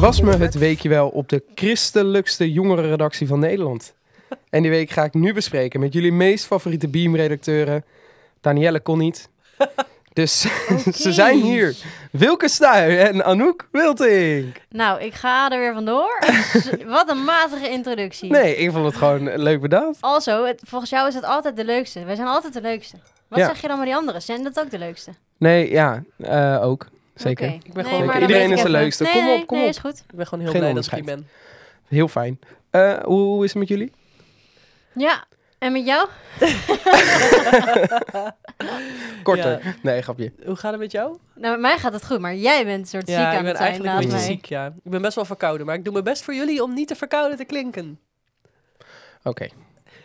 was me het weekje wel op de christelijkste jongerenredactie van Nederland. En die week ga ik nu bespreken met jullie meest favoriete Beam-redacteuren. Danielle kon niet. Dus ze zijn hier. Wilke Stuy en Anouk Wilting. Nou, ik ga er weer vandoor. Wat een matige introductie. Nee, ik vond het gewoon leuk bedacht. Also, het, volgens jou is het altijd de leukste. Wij zijn altijd de leukste. Wat Ja. zeg je dan met die anderen? Zijn dat ook de leukste? Nee, ja, eh, ook. Zeker. Oké. ben Nee, maar gewoon- Zeker. dan Iedereen weet ik is de even. leukste. Nee, Kom nee, op, kom nee, op. is goed. Ik ben gewoon heel Geen blij dat ik hier ben. Heel fijn. Eh, hoe, hoe is het met jullie? Ja, en met jou? Korter. Nee, grapje. Hoe gaat het met jou? Nou, met mij gaat het goed, maar jij bent een soort ziek aan ik ben het zijn eigenlijk een naast beetje mij. ziek, ja. Ik ben best wel verkouden, maar ik doe mijn best voor jullie om niet te verkouden te klinken. Oké.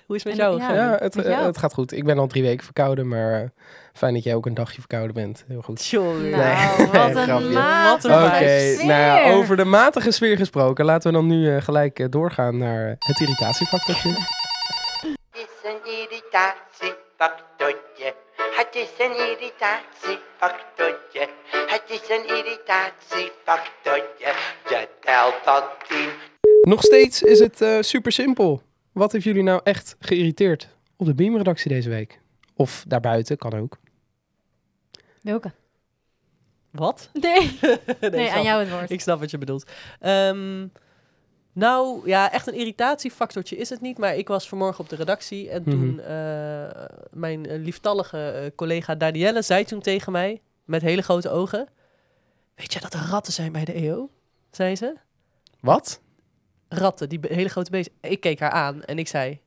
Hoe is het met En- jou? ja. Ja, Gabi? het, met eh, jou? het gaat goed. Ik ben al drie weken verkouden, maar eh, fijn dat jij ook een dagje verkouden bent. Heel goed. Tjonge. Nou, Nee, wat een grapje. matige Wat een Oké, sfeer. nou ja, over de matige sfeer gesproken, laten we dan nu eh, gelijk eh, doorgaan naar het irritatiefactortje. Het is een irritatiefactortje. Het is een irritatiefactortje. Het is een irritatiefactortje. Je telt tot tien. Nog steeds is het eh, super simpel. Wat heeft jullie nou echt geïrriteerd op de Beamredactie deze week? Of daarbuiten, kan ook. Welke? Wat? Nee, Nee, nee aan snap. jou het woord. Ik snap wat je bedoelt. Ehm, nou, ja, echt een irritatiefactortje is het niet. Maar ik was vanmorgen op de redactie. En Mhm. toen eh, mijn eh, lieftallige eh, collega Danielle zei toen tegen mij, met hele grote ogen... Weet je dat er ratten zijn bij de EO? Zei ze. Wat? ratten, die be- hele grote beesten. Ik keek haar aan en ik zei,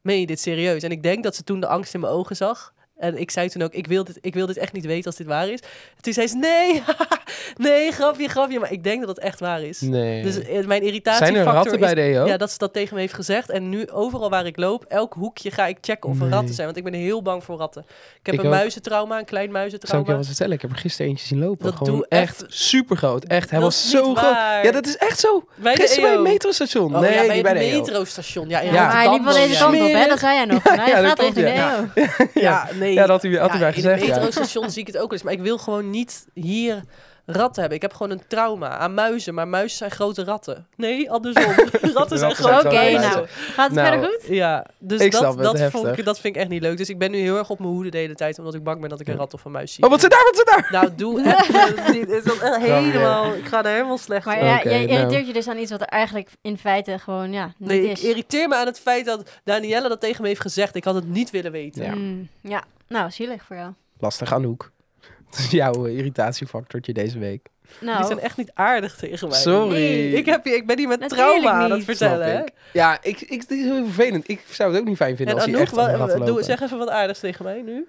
meen je dit serieus? En ik denk dat ze toen de angst in mijn ogen zag. En ik zei toen ook, ik wil dit, ik wil dit echt niet weten als dit waar is. En toen zei ze, nee, nee, grapje, grapje. Maar ik denk dat het echt waar is. Nee. Dus eh, mijn irritatiefactor Zijn er ratten is... bij de E EO? Ja, dat ze dat tegen me heeft gezegd. En nu overal waar ik loop, elk hoekje ga ik checken of er Nee. ratten zijn. Want ik ben heel bang voor ratten. Ik heb Ik een ook. muizentrauma, een klein Zou ik je muizentrauma. wel eens vertellen? Ik heb er gisteren eentje zien lopen. Dat Gewoon doe echt even- super groot. Echt, hij Dat was is zo niet groot. waar. Ja, dat is echt zo. Bij de gisteren bij EO. het metrostation. Oh, nee, ja, bij niet het bij de E EO. metrostation. Ja, in Ja. ja, maar hij liep Rotterdam wel woon deze jij. kant op, hè? Smerig. Dat zei jij nog. hij ja, dat gaat klopt, richting ja. de EO. Ja, nee. Ja, dat had hij, had hij bij gezegd. In het ja. metrostation zie ik het ook wel eens. Maar ik wil gewoon niet hier ratten hebben. Ik heb gewoon een trauma aan muizen. Maar muizen zijn grote ratten. Nee, andersom. ratten zijn zijn grote grote muizen. ratten. Gaat het Nou, verder goed? Ja, dus Ik snap dat, het, dat, heftig. vond ik, dat vind ik echt niet leuk. Dus ik ben nu heel erg op mijn hoede de hele tijd. Omdat ik bang ben dat ik een rat of een muis zie. Oh, wat zit daar? Wat zit daar? Nou, doe echt niet. Het is echt helemaal... Ik ga er helemaal slecht Maar op. ja, Oké, jij irriteert nou. je dus aan iets wat er eigenlijk in feite gewoon ja, niet Nee, ik is. irriteer me aan het feit dat Danielle dat tegen me heeft gezegd. Ik had het niet willen weten. Ja. Mm, ja, nou, zielig voor jou. Lastig, Anouk. Dat is jouw eh, irritatiefactortje deze week. Nou, Die zijn echt niet aardig tegen mij. Sorry. Nee, Oh, Ik, heb, hier- ik ben hier met Natuurlijk trauma aan het niet. vertellen. hè? Snap ik. Ja, ik, ik, dit is heel vervelend. Ik zou het ook niet fijn vinden En als Anouk, je echt aan de wa- ratten doe, lopen. zeg even wat aardigs tegen mij nu.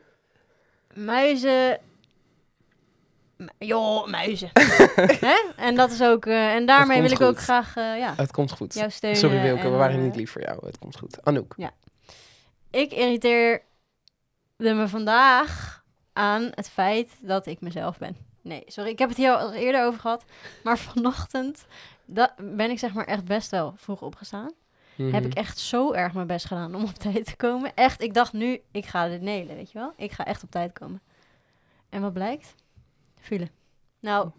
muizen... M- Joh, muizen. Hè? En dat is ook... eh, en daarmee komt wil ik ook goed. graag eh, ja, Het komt goed. jou steunen. Sorry Wilke, en, we waren niet eh, lief voor jou. Het komt goed. Anouk. Ik irriteer me vandaag aan het feit dat ik mezelf ben. Nee, sorry, ik heb het hier al eerder over gehad. Maar vanochtend da- ben ik zeg maar echt best wel vroeg opgestaan. Mhm. heb ik echt zo erg mijn best gedaan om op tijd te komen. Echt, ik dacht nu, ik ga dit nelen, weet je wel. Ik ga echt op tijd komen. En wat blijkt? File. Oh. Nou,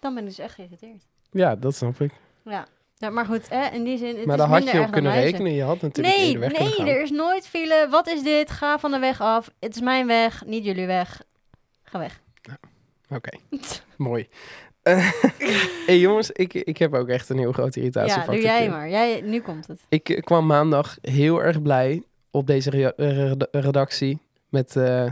dan ben ik dus echt geïrriteerd. Ja, dat snap ik. Ja, Ja, maar goed, hè, in die zin, het maar is daar had minder je erg op dan kunnen muizen. rekenen. Je had natuurlijk Nee, eerder weg kunnen nee, gaan. er is nooit file. Wat is dit? Ga van de weg af. Het is mijn weg, niet jullie weg. Ga weg. Oké, mooi. Eh, hey jongens, ik, ik heb ook echt een heel grote ja, irritatiefactor. doe jij maar. Jij, nu komt het. Ik eh, kwam maandag heel erg blij op deze rea- eh, red- redactie met eh,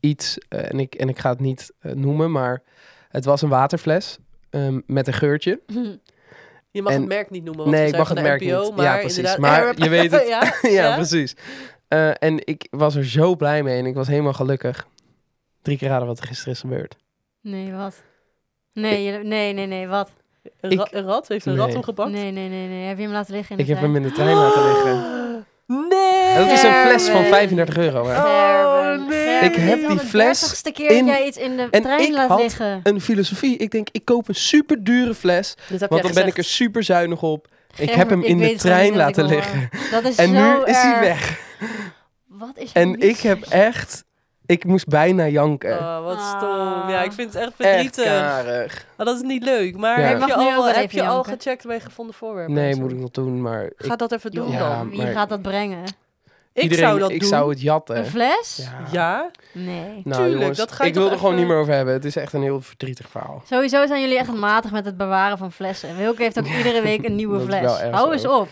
iets. eh, en, ik, en ik ga het niet eh, noemen, maar het was een waterfles eh, met een geurtje. Je mag En- het merk niet noemen, want Nee, we ik zijn mag van het de merk NPO, niet. Maar Ja, precies. inderdaad- Maar je weet het. ja? ja, Ja? precies. Eh, en ik was er zo blij mee en ik was helemaal gelukkig. Drie keer raden wat er gisteren is gebeurd. Nee, wat? Nee, je- nee, nee, nee, wat? Een, ra- Ik- een rat? Heeft een Nee. rat hem gepakt? Nee, nee, nee, nee. Heb je hem laten liggen in de Ik heb trein? hem in de trein laten liggen. Oh. Nee! En dat is een fles van Gerben. 35 euro. hè. Gerben, Oh, nee. Gerben, Ik dit heb is al die de fles 30ste keer dat in- jij iets in de en trein ik laat had liggen. Een filosofie. Ik denk, ik koop een super dure fles. Dit heb Want jij dan ben ik er gezegd. super zuinig op. Ik heb Gerben, hem in weet de het gewoon trein niet dat ik laten hem hoor. liggen. Dat is En zo nu is hij erg. weg. Wat is er En mis? ik heb echt Ik moest bijna janken. Oh, wat stom. Ja, ik vind het echt Echt verdrietig. karig. maar dat is niet leuk. Maar Ja. Je heb mag je nu ook al, wel heb even je al janken. gecheckt bij gevonden voorwerpen? en Nee, zo? moet ik nog doen, maar ik, Ga dat even doen Joh, Ja, dan. Wie maar- gaat dat brengen? Ik iedereen, zou dat ik doen. zou het jatten. Een fles? Ja. Ja? Nee. Nou Tuurlijk, jongens, dat ga je ik wil er toch gewoon even- niet meer over hebben. Het is echt een heel verdrietig verhaal. Sowieso zijn jullie echt matig met het bewaren van flessen. Wilke heeft ook iedere week een nieuwe Dat is fles. wel erg Hou zo. eens op.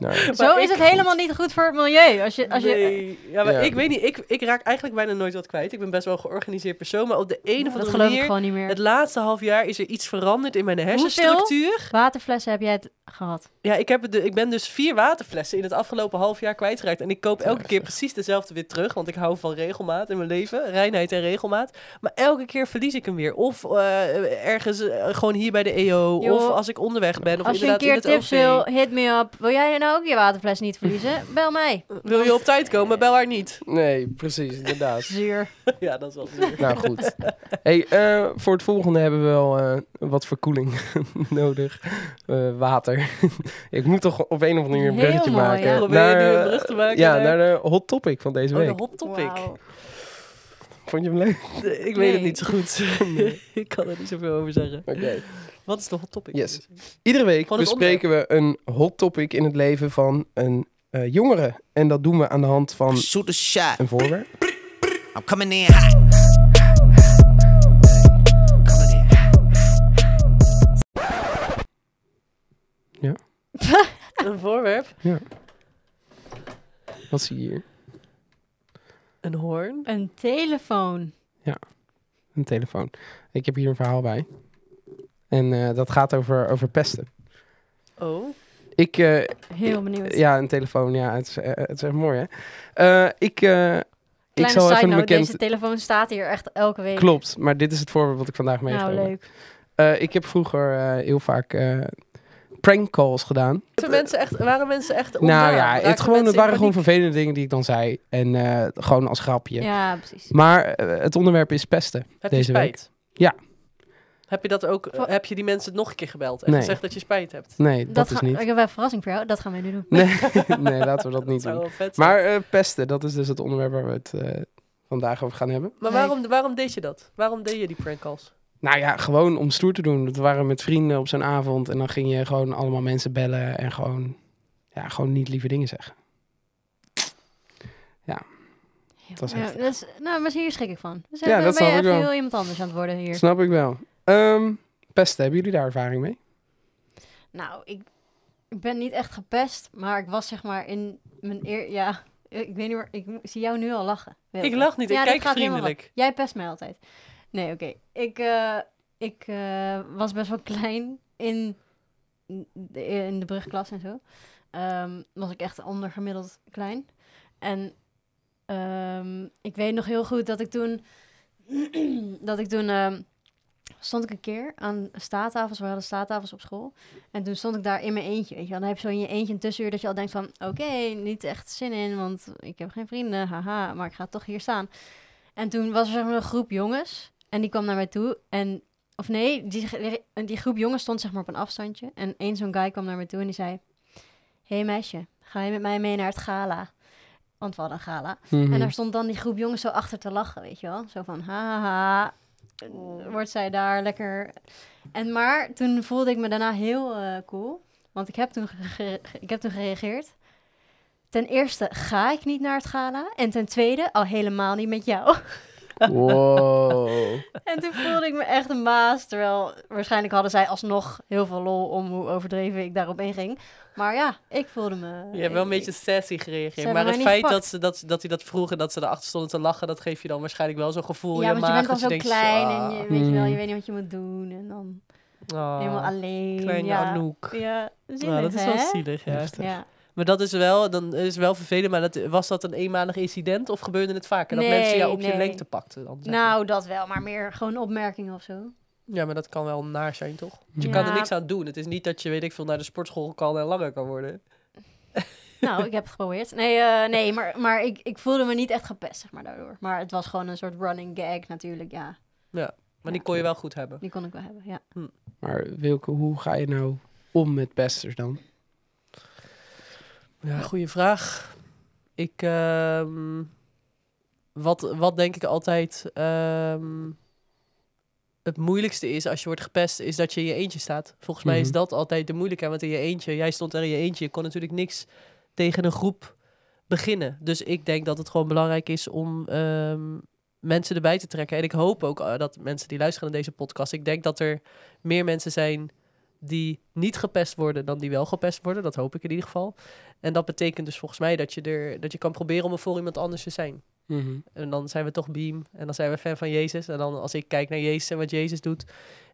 Nou, Zo is ik- het helemaal niet goed voor het milieu. Als je, als je, nee. Ja, maar Ja. ik weet niet. Ik, ik raak eigenlijk bijna nooit wat kwijt. Ik ben best wel een georganiseerd persoon. Maar op de een dat of andere geloof ik manier... gewoon niet meer. Het laatste half jaar is er iets veranderd in mijn hersenstructuur. Waterflessen heb jij het gehad. Ja, ik, heb het de, ik ben dus vier waterflessen in het afgelopen half jaar kwijtgeraakt. En ik koop elke keer precies dezelfde weer terug. Want ik hou van regelmaat in mijn leven. Reinheid en regelmaat. Maar elke keer verlies ik hem weer. Of eh, ergens eh, gewoon hier bij de EO. Joh. of als ik onderweg ben. Of Als je een inderdaad in keer het tips OV. wil, hit me up. Wil jij nou ook je waterfles niet verliezen? Bel mij. Wil je op tijd komen? Bel haar niet. nee, precies, inderdaad. Zuur. ja, dat is wel zuur. nou goed. Hey, eh, voor het volgende hebben we wel eh, wat verkoeling nodig. Eh, water. ik moet toch op een of andere manier een Heel bruggetje mooi, maken. ja. Probeer je nu een brug te maken Ja, naar- naar de hot topic van deze Oh, week. de hot topic. Wauw. Vond je hem leuk? De- Ik weet Nee. het niet zo goed. ik kan er niet zoveel over zeggen. Oké. Wat is de hot topic? Yes. Iedere week Van het bespreken we een hot topic in het leven van een eh, jongere. En dat doen we aan de hand van Shoot the shot. een voorwerp. I'm coming in hot. Coming in hot. Een voorwerp. Wat zie je hier? Een hoorn. Een telefoon. Een telefoon. Ik heb hier een verhaal bij. En eh, dat gaat over, over pesten. Oh. Ik, eh, Heel benieuwd. Ja, een telefoon. Ja, het is, eh, het is echt mooi, hè? Eh, ik, eh, ik Kleine zal side even een note, bekend... deze telefoon staat hier echt elke week. Klopt, maar dit is het voorbeeld wat ik vandaag Nou, meegenomen heb. leuk. Eh, ik heb vroeger eh, heel vaak eh, prank calls gedaan. Zijn mensen echt, waren mensen echt eh, nou ja, het, Raakten gewoon, het mensen waren in gewoon paniek? vervelende dingen die ik dan zei. En eh, gewoon als grapje. Ja, precies. Maar eh, het onderwerp is pesten. Heb deze je spijt? Ja. Heb je dat ook, eh, Wa- heb je die mensen nog een keer gebeld en Nee. gezegd dat je spijt hebt? Nee, dat, is ga- niet. Ik heb wel een verrassing voor jou. Dat gaan wij nu doen. Nee, nee, laten we dat Dat niet zou doen. wel vet zijn. Maar eh, pesten, dat is dus het onderwerp waar we het eh, vandaag over gaan hebben. Maar waarom, waarom deed je dat? Waarom deed je die prank calls? Eh, Nou ja, gewoon om stoer te doen. Dat waren met vrienden op zo'n avond. En dan ging je gewoon allemaal mensen bellen. En gewoon, ja, gewoon niet lieve dingen zeggen. Dat was Ja, echt- dat is- nou, misschien hier schrik ik van. Dus Ja, ja, dat ben snap je ik echt wel. heel iemand anders aan het worden hier. Snap ik wel. Ehm, pesten, hebben jullie daar ervaring mee? Nou, ik, ik ben niet echt gepest, maar ik was zeg maar in mijn eer... Ja, ik weet niet waar... Ik mo- zie jou nu al lachen. Wilke. Ik lach niet, ik Ja, dat kijk gaat helemaal vriendelijk. goed. Jij pest mij altijd. Nee, oké. Ik, eh, ik eh, was best wel klein in de, in de brugklas en zo. Ehm, was ik echt ondergemiddeld klein. En ehm, ik weet nog heel goed dat ik toen... dat ik toen... ehm, stond ik een keer aan staattafels. We hadden staattafels op school. En toen stond ik daar in mijn eentje. Weet je wel. Dan heb je zo in je eentje een tussenuur dat je al denkt van... Oké, niet echt zin in, want ik heb geen vrienden. Haha, maar ik ga toch hier staan. En toen was er zeg maar, een groep jongens. En die kwam naar mij toe. En, of nee, die, die groep jongens stond zeg maar op een afstandje. En één zo'n guy kwam naar mij toe en die zei... hey meisje, ga je met mij mee naar het gala? Want we hadden een gala. En Mm. daar stond dan die groep jongens zo achter te lachen, weet je wel. Zo van, ha, ha, ha, Oh. wordt zij daar lekker. En maar toen voelde ik me daarna heel eh, cool. Want ik heb, toen gere- ge- ik heb toen gereageerd. Ten eerste ga ik niet naar het gala. En ten tweede al helemaal niet met jou. Mhm. Wow. en toen voelde ik me echt een baas. Terwijl waarschijnlijk hadden zij alsnog heel veel lol om hoe overdreven ik daarop inging. Maar ja, ik voelde me... Je hebt wel een ik- beetje sassy gereageerd. hebben Maar mij het niet feit gepakt. dat ze dat, dat hij dat vroeg en dat ze erachter stonden te lachen, dat geeft je dan waarschijnlijk wel zo'n Ja, gevoel in je want maag. je bent dat dan zo denkt, klein en ah, je, weet je wel, je Mm. weet niet wat je moet doen. En dan... ah, Helemaal alleen. Kleine ja. Anouk. Ja, zielig, Nou, dat is wel hè? zielig, ja. Heftig. Ja. Maar dat is wel, dan is wel vervelend. Maar dat, was dat een eenmalig incident of gebeurde het vaker? dat Nee, mensen jou op je nee. lengte pakten? Dan, zeg maar? Nou, dat wel, maar meer gewoon opmerkingen of zo. Ja, maar dat kan wel naar zijn, toch? Je Ja. kan er niks aan doen. Het is niet dat je, weet ik veel, naar de sportschool kan en langer kan worden. Nou, ik heb het geprobeerd. Nee, eh, nee maar, maar ik, ik voelde me niet echt gepest, zeg maar, daardoor. Maar het was gewoon een soort running gag natuurlijk, ja. Maar Ja. die kon je wel goed hebben. Die kon ik wel hebben, ja. Maar Wilke, hoe ga je nou om met pesters dan? Ja, goede vraag. Ik, ehm, wat, wat denk ik altijd ehm, het moeilijkste is als je wordt gepest, is dat je in je eentje staat. Volgens mij is Mhm. dat altijd de moeilijkheid, want in je eentje, jij stond er in je eentje, je kon natuurlijk niks tegen een groep beginnen. Dus ik denk dat het gewoon belangrijk is om ehm, mensen erbij te trekken. En ik hoop ook eh, dat mensen die luisteren naar deze podcast, ik denk dat er meer mensen zijn die niet gepest worden dan die wel gepest worden. Dat hoop ik in ieder geval. En dat betekent dus volgens mij dat je, er, dat je kan proberen om er voor iemand anders te zijn. Mhm. En dan zijn we toch beam. En dan zijn we fan van Jezus. En dan als ik kijk naar Jezus en wat Jezus doet.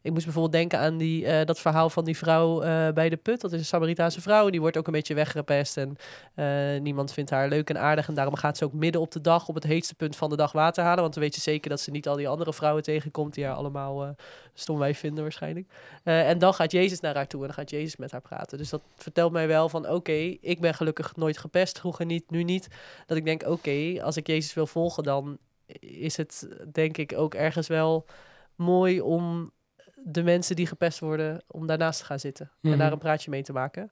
Ik moest bijvoorbeeld denken aan die, eh, dat verhaal van die vrouw eh, bij de put. Dat is een Samaritaanse vrouw. Die wordt ook een beetje weggepest. En eh, niemand vindt haar leuk en aardig. En daarom gaat ze ook midden op de dag, op het heetste punt van de dag water halen. Want dan weet je zeker dat ze niet al die andere vrouwen tegenkomt. Die haar allemaal eh stom wij vinden waarschijnlijk. Eh, en dan gaat Jezus naar haar toe. En dan gaat Jezus met haar praten. Dus dat vertelt mij wel van oké, ik ben gelukkig nooit gepest. Vroeger niet, nu niet dat ik denk, oké, als ik Jezus wil volgen, dan is het denk ik ook ergens wel mooi om de mensen die gepest worden, om daarnaast te gaan zitten Mhm. en daar een praatje mee te maken.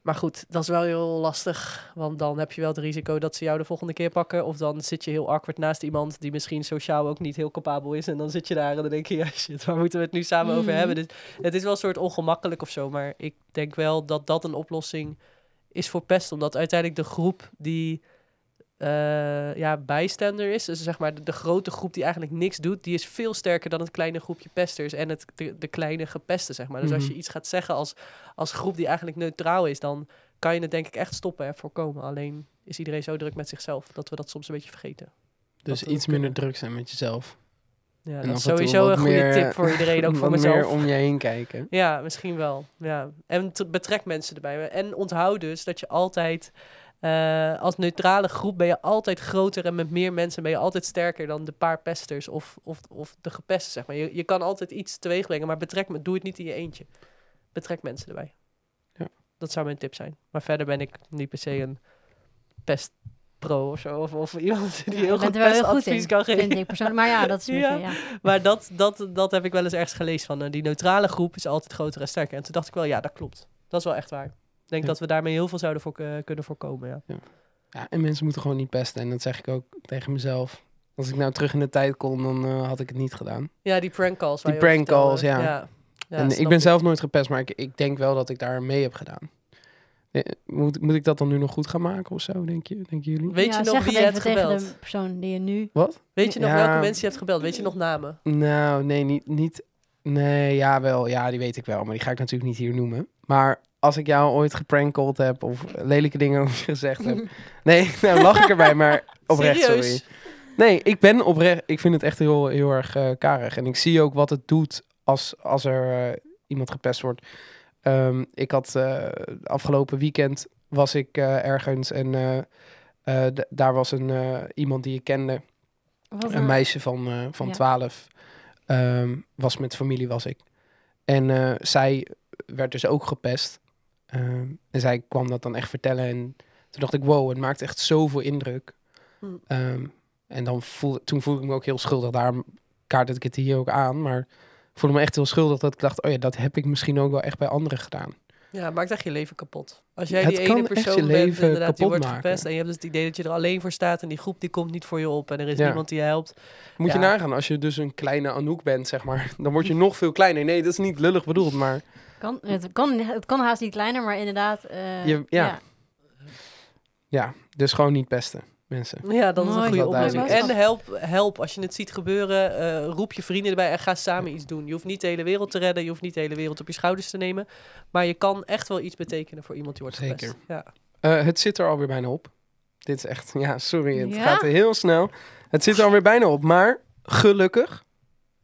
Maar goed, dat is wel heel lastig, want dan heb je wel het risico dat ze jou de volgende keer pakken. Of dan zit je heel awkward naast iemand die misschien sociaal ook niet heel capabel is. En dan zit je daar en dan denk je, ja shit, waar moeten we het nu samen over Mhm. hebben? Dus het is wel een soort ongemakkelijk of zo, maar ik denk wel dat dat een oplossing is voor pest. Omdat uiteindelijk de groep die eh, ja, bijstander is, dus zeg maar de, de grote groep die eigenlijk niks doet, die is veel sterker dan het kleine groepje pesters en het, de, de kleine gepesten, zeg maar. Dus als je Mhm. iets gaat zeggen als, als groep die eigenlijk neutraal is, dan kan je het denk ik echt stoppen en voorkomen. Alleen is iedereen zo druk met zichzelf dat we dat soms een beetje vergeten. Dus Dat eh, we iets kunnen. minder druk zijn met jezelf. Ja, En dat is af en toe sowieso wat een goede meer- tip voor iedereen, ook voor Wat mezelf. meer om je heen kijken. Ja, misschien wel. Ja. En t- betrek mensen erbij. En onthoud dus dat je altijd eh, als neutrale groep ben je altijd groter en met meer mensen ben je altijd sterker dan de paar pesters of, of, of de gepesten, zeg maar. Je, je kan altijd iets teweeg brengen, maar betrek, me- doe het niet in je eentje. Betrek mensen erbij. Ja. Dat zou mijn tip zijn. Maar verder ben ik niet per se een pestpro of zo. Of, of iemand die heel je goed bent er wel heel goed pestadvies in, kan geven. vind ik persoonlijk. Maar ja, dat is een Ja. beetje, ja. Maar dat, dat, dat heb ik wel eens ergens gelezen van. eh, die neutrale groep is altijd groter en sterker. En toen dacht ik wel, ja, dat klopt. Dat is wel echt waar. Ik denk Ja. dat we daarmee heel veel zouden voor, eh, kunnen voorkomen, ja. Ja, en mensen moeten gewoon niet pesten. En dat zeg ik ook tegen mezelf. Als ik nou terug in de tijd kon, dan eh, had ik het niet gedaan. Ja, die prankcalls. Die prankcalls, ja. ja. Ja, en snap ik ben zelf nooit gepest, maar ik, ik denk wel dat ik daar mee heb gedaan. Eh, Moet, moet ik dat dan nu nog goed gaan maken of zo, denk je, denken jullie? Weet Ja, je zeg het nog wie je even hebt tegen gebeld? de persoon die je nu... Wat? Weet je nog Ja. welke mensen je hebt gebeld? Weet je nog namen? Nou, nee, niet, niet. Nee, ja, wel. Ja, die weet ik wel. Maar die ga ik natuurlijk niet hier noemen. Maar als ik jou ooit geprankkeld heb of lelijke dingen over je gezegd heb. Nee, nou lach ik erbij, maar oprecht, Serieus? sorry. Nee, ik ben oprecht. Ik vind het echt heel, heel erg eh, karig. En ik zie ook wat het doet als, als er eh, iemand gepest wordt. Ehm, ik had eh, afgelopen weekend was ik eh, ergens en eh, eh, d- daar was een, eh, iemand die ik kende. Wat Een meisje van, eh, van Ja. 12 ehm, was met familie, was ik. En eh, zij werd dus ook gepest. Ehm, en zij kwam dat dan echt vertellen. En toen dacht ik, wow, het maakt echt zoveel indruk. Hm. Ehm, en dan voel, toen voelde ik me ook heel schuldig. Daarom kaartte ik het hier ook aan. Maar ik voelde me echt heel schuldig dat ik dacht... oh ja, dat heb ik misschien ook wel echt bij anderen gedaan. Ja, maakt echt je leven kapot. Als jij Het die kan ene echt je persoon bent leven inderdaad, die kapot wordt maken. gepest... en je hebt dus het idee dat je er alleen voor staat... en die groep die komt niet voor je op en er is Ja. niemand die je helpt... Moet je Ja. nagaan, als je dus een kleine Anouk bent, zeg maar... dan word je nog veel kleiner. Nee, dat is niet lullig bedoeld, maar... Kan, het, kan, het kan haast niet kleiner, maar inderdaad... eh, Je- ja. Ja, dus gewoon niet pesten, mensen. Ja, dat is een Mooi. goede Dat is wel oplossing. En duidelijk. help, help als je het ziet gebeuren. eh, roep je vrienden erbij en ga samen iets doen. Je hoeft niet de hele wereld te redden. Je hoeft niet de hele wereld op je schouders te nemen. Maar je kan echt wel iets betekenen voor iemand die wordt Zeker. gepest. Ja. Eh, het zit er alweer bijna op. Dit is echt, ja, sorry, het Ja? gaat heel snel. Het zit er alweer bijna op, maar gelukkig,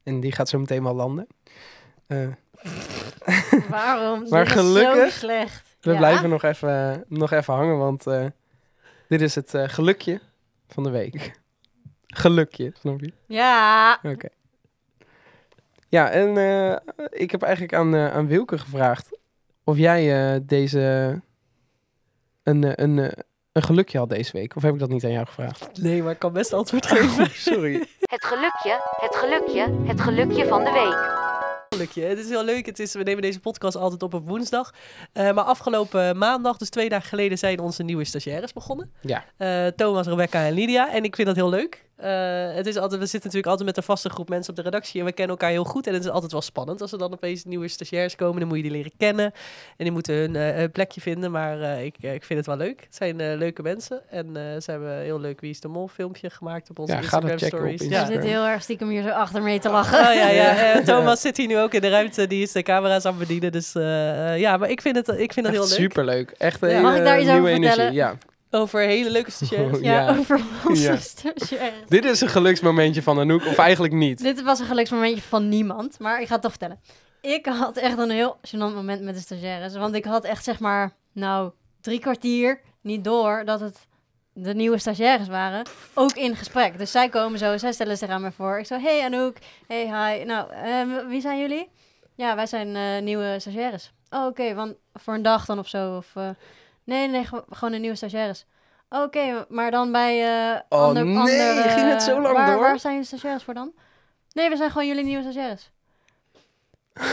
en die gaat zo meteen wel landen. Eh, Waarom? Maar Dit is zo gelukkig- slecht. we Ja. blijven nog even, nog even hangen, want eh, dit is het eh, gelukje van de week. Gelukje, snap je? Ja. Ja, en eh, ik heb eigenlijk aan, eh, aan Wilke gevraagd of jij eh, deze een, eh, een, eh, een gelukje had deze week. Of heb ik dat niet aan jou gevraagd? Nee, maar ik kan best antwoord geven. Sorry. Het gelukje, het gelukje, het gelukje van de week. Gelukje. Het is heel leuk. Het is, we nemen deze podcast altijd op op woensdag. Eh, maar afgelopen maandag, dus twee dagen geleden, zijn onze nieuwe stagiaires begonnen. Ja. Eh, Thomas, Rebecca en Lydia. En ik vind dat heel leuk. Eh, het is altijd, we zitten natuurlijk altijd met een vaste groep mensen op de redactie en we kennen elkaar heel goed. En het is altijd wel spannend als er dan opeens nieuwe stagiairs komen. Dan moet je die leren kennen en die moeten hun eh, eh, plekje vinden. Maar eh, ik, eh, ik vind het wel leuk. Het zijn eh, leuke mensen en eh, ze hebben een heel leuk Wie is de Mol filmpje gemaakt op onze Ja, ga dat Instagram checken op stories. Je Instagram. Ja. zit heel erg stiekem hier zo achter me te lachen. Oh, ja, ja. Ja. Eh, Thomas zit hier nu ook in de ruimte. Die is de camera's aan het bedienen. Dus eh, eh, ja, maar ik vind het, ik vind het heel Echt leuk. superleuk. Echt een Ja. hele Mag ik daar iets over nieuwe energie. vertellen? Ja. Over hele leuke Oh, stagiairs. Ja, Ja. over onze Ja. stagiair. Dit is een geluksmomentje van Anouk, of eigenlijk niet. Dit was een geluksmomentje van niemand, maar ik ga het toch vertellen. Ik had echt een heel gênant moment met de stagiaires. Want ik had echt zeg maar, nou, drie kwartier niet door dat het de nieuwe stagiaires waren. Ook in gesprek. Dus zij komen zo, zij stellen zich aan me voor. Ik zo, hey Anouk, hey hi. Nou, ehm, wie zijn jullie? Ja, wij zijn eh, nieuwe stagiaires. Oh, oké, want voor een dag dan of zo. Of, eh, nee, nee, gew- gewoon een nieuwe stagiaires. Oh, Oké, maar dan bij eh Oh, ander- nee, andere- ging het zo lang waar, door? Waar zijn je stagiaires voor dan? Nee, we zijn gewoon jullie nieuwe stagiaires. Oh,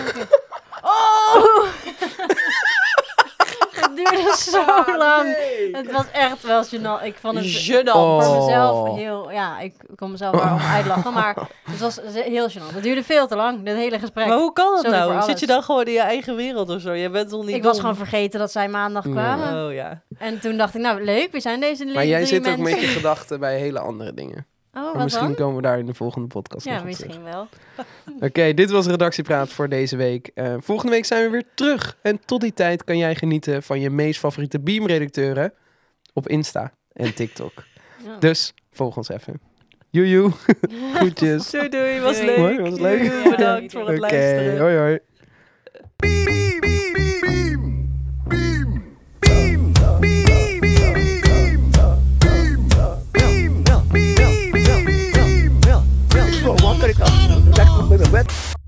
oké. oh! het duurde zo Ah, lang. Het was echt wel gênant. Ik vond het Genant. voor Oh. mezelf heel... Ja, ik kon mezelf wel uitlachen, maar het was ze- heel gênant. Het duurde veel te lang, dit hele gesprek. Maar hoe kan dat Sorry voor nou? alles. Zit je dan gewoon in je eigen wereld of zo? Je bent toch niet ik was dom? gewoon vergeten dat zij maandag Ja. kwamen. Oh ja. En toen dacht ik, nou leuk, wie zijn deze Maar jij drie zit ook mensen? met je gedachten bij hele andere dingen. Oh, Maar wat misschien dan? komen we daar in de volgende podcast nog Ja, op terug. misschien wel. Oké, dit was Redactiepraat voor deze week. Eh, volgende week zijn we weer terug. En tot die tijd kan jij genieten van je meest favoriete Beam-redacteuren op Insta en TikTok. Ja. Dus volg ons even. Joejoe, groetjes. Doei doei, was Doei. leuk. Mooi, was leuk. Joejoe, Bedankt voor Oké, het luisteren. hoi hoi. Beam, beam, beam, beam, beam.